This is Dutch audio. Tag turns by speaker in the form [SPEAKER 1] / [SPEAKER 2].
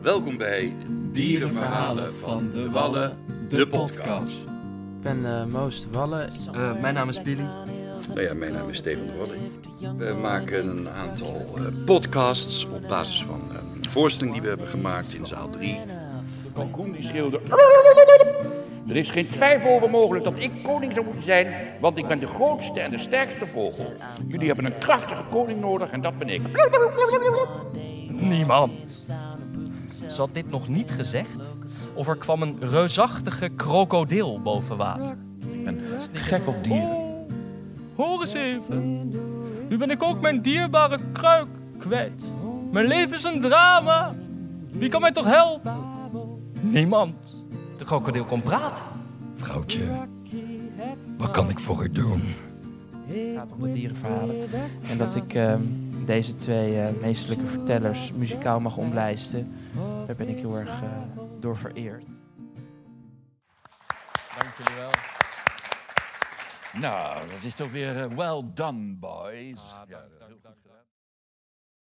[SPEAKER 1] Welkom bij Dierenverhalen van de Wallen, de podcast.
[SPEAKER 2] Ik ben uh, Moos de Wallen.
[SPEAKER 3] Eh, mijn naam is Billy.
[SPEAKER 1] Nou ja, mijn naam is Steven de Walling. We maken een aantal eh, podcasts op basis van eh, een voorstelling die we hebben gemaakt in zaal 3.
[SPEAKER 4] Kalkoen die schreeuwde... Er is geen twijfel over mogelijk dat ik koning zou moeten zijn, want ik ben de grootste en de sterkste vogel. Jullie hebben een krachtige koning nodig en dat ben ik.
[SPEAKER 3] Niemand. Ze had dit nog niet gezegd, of er kwam een reusachtige krokodil boven water. Oh,
[SPEAKER 5] gek op dieren.
[SPEAKER 3] Hoor eens even. Nu ben ik ook mijn dierbare kruik kwijt. Mijn leven is een drama. Wie kan mij toch helpen? Niemand. De krokodil kon praten.
[SPEAKER 5] Vrouwtje, wat kan ik voor u doen?
[SPEAKER 2] Het gaat om de dierenverhalen. En dat ik ehm, deze twee eh, meesterlijke vertellers muzikaal mag omlijsten, daar ben ik heel erg eh, door vereerd.
[SPEAKER 5] Dank jullie wel.
[SPEAKER 4] Ah, Nou, dat is toch weer well done, boys.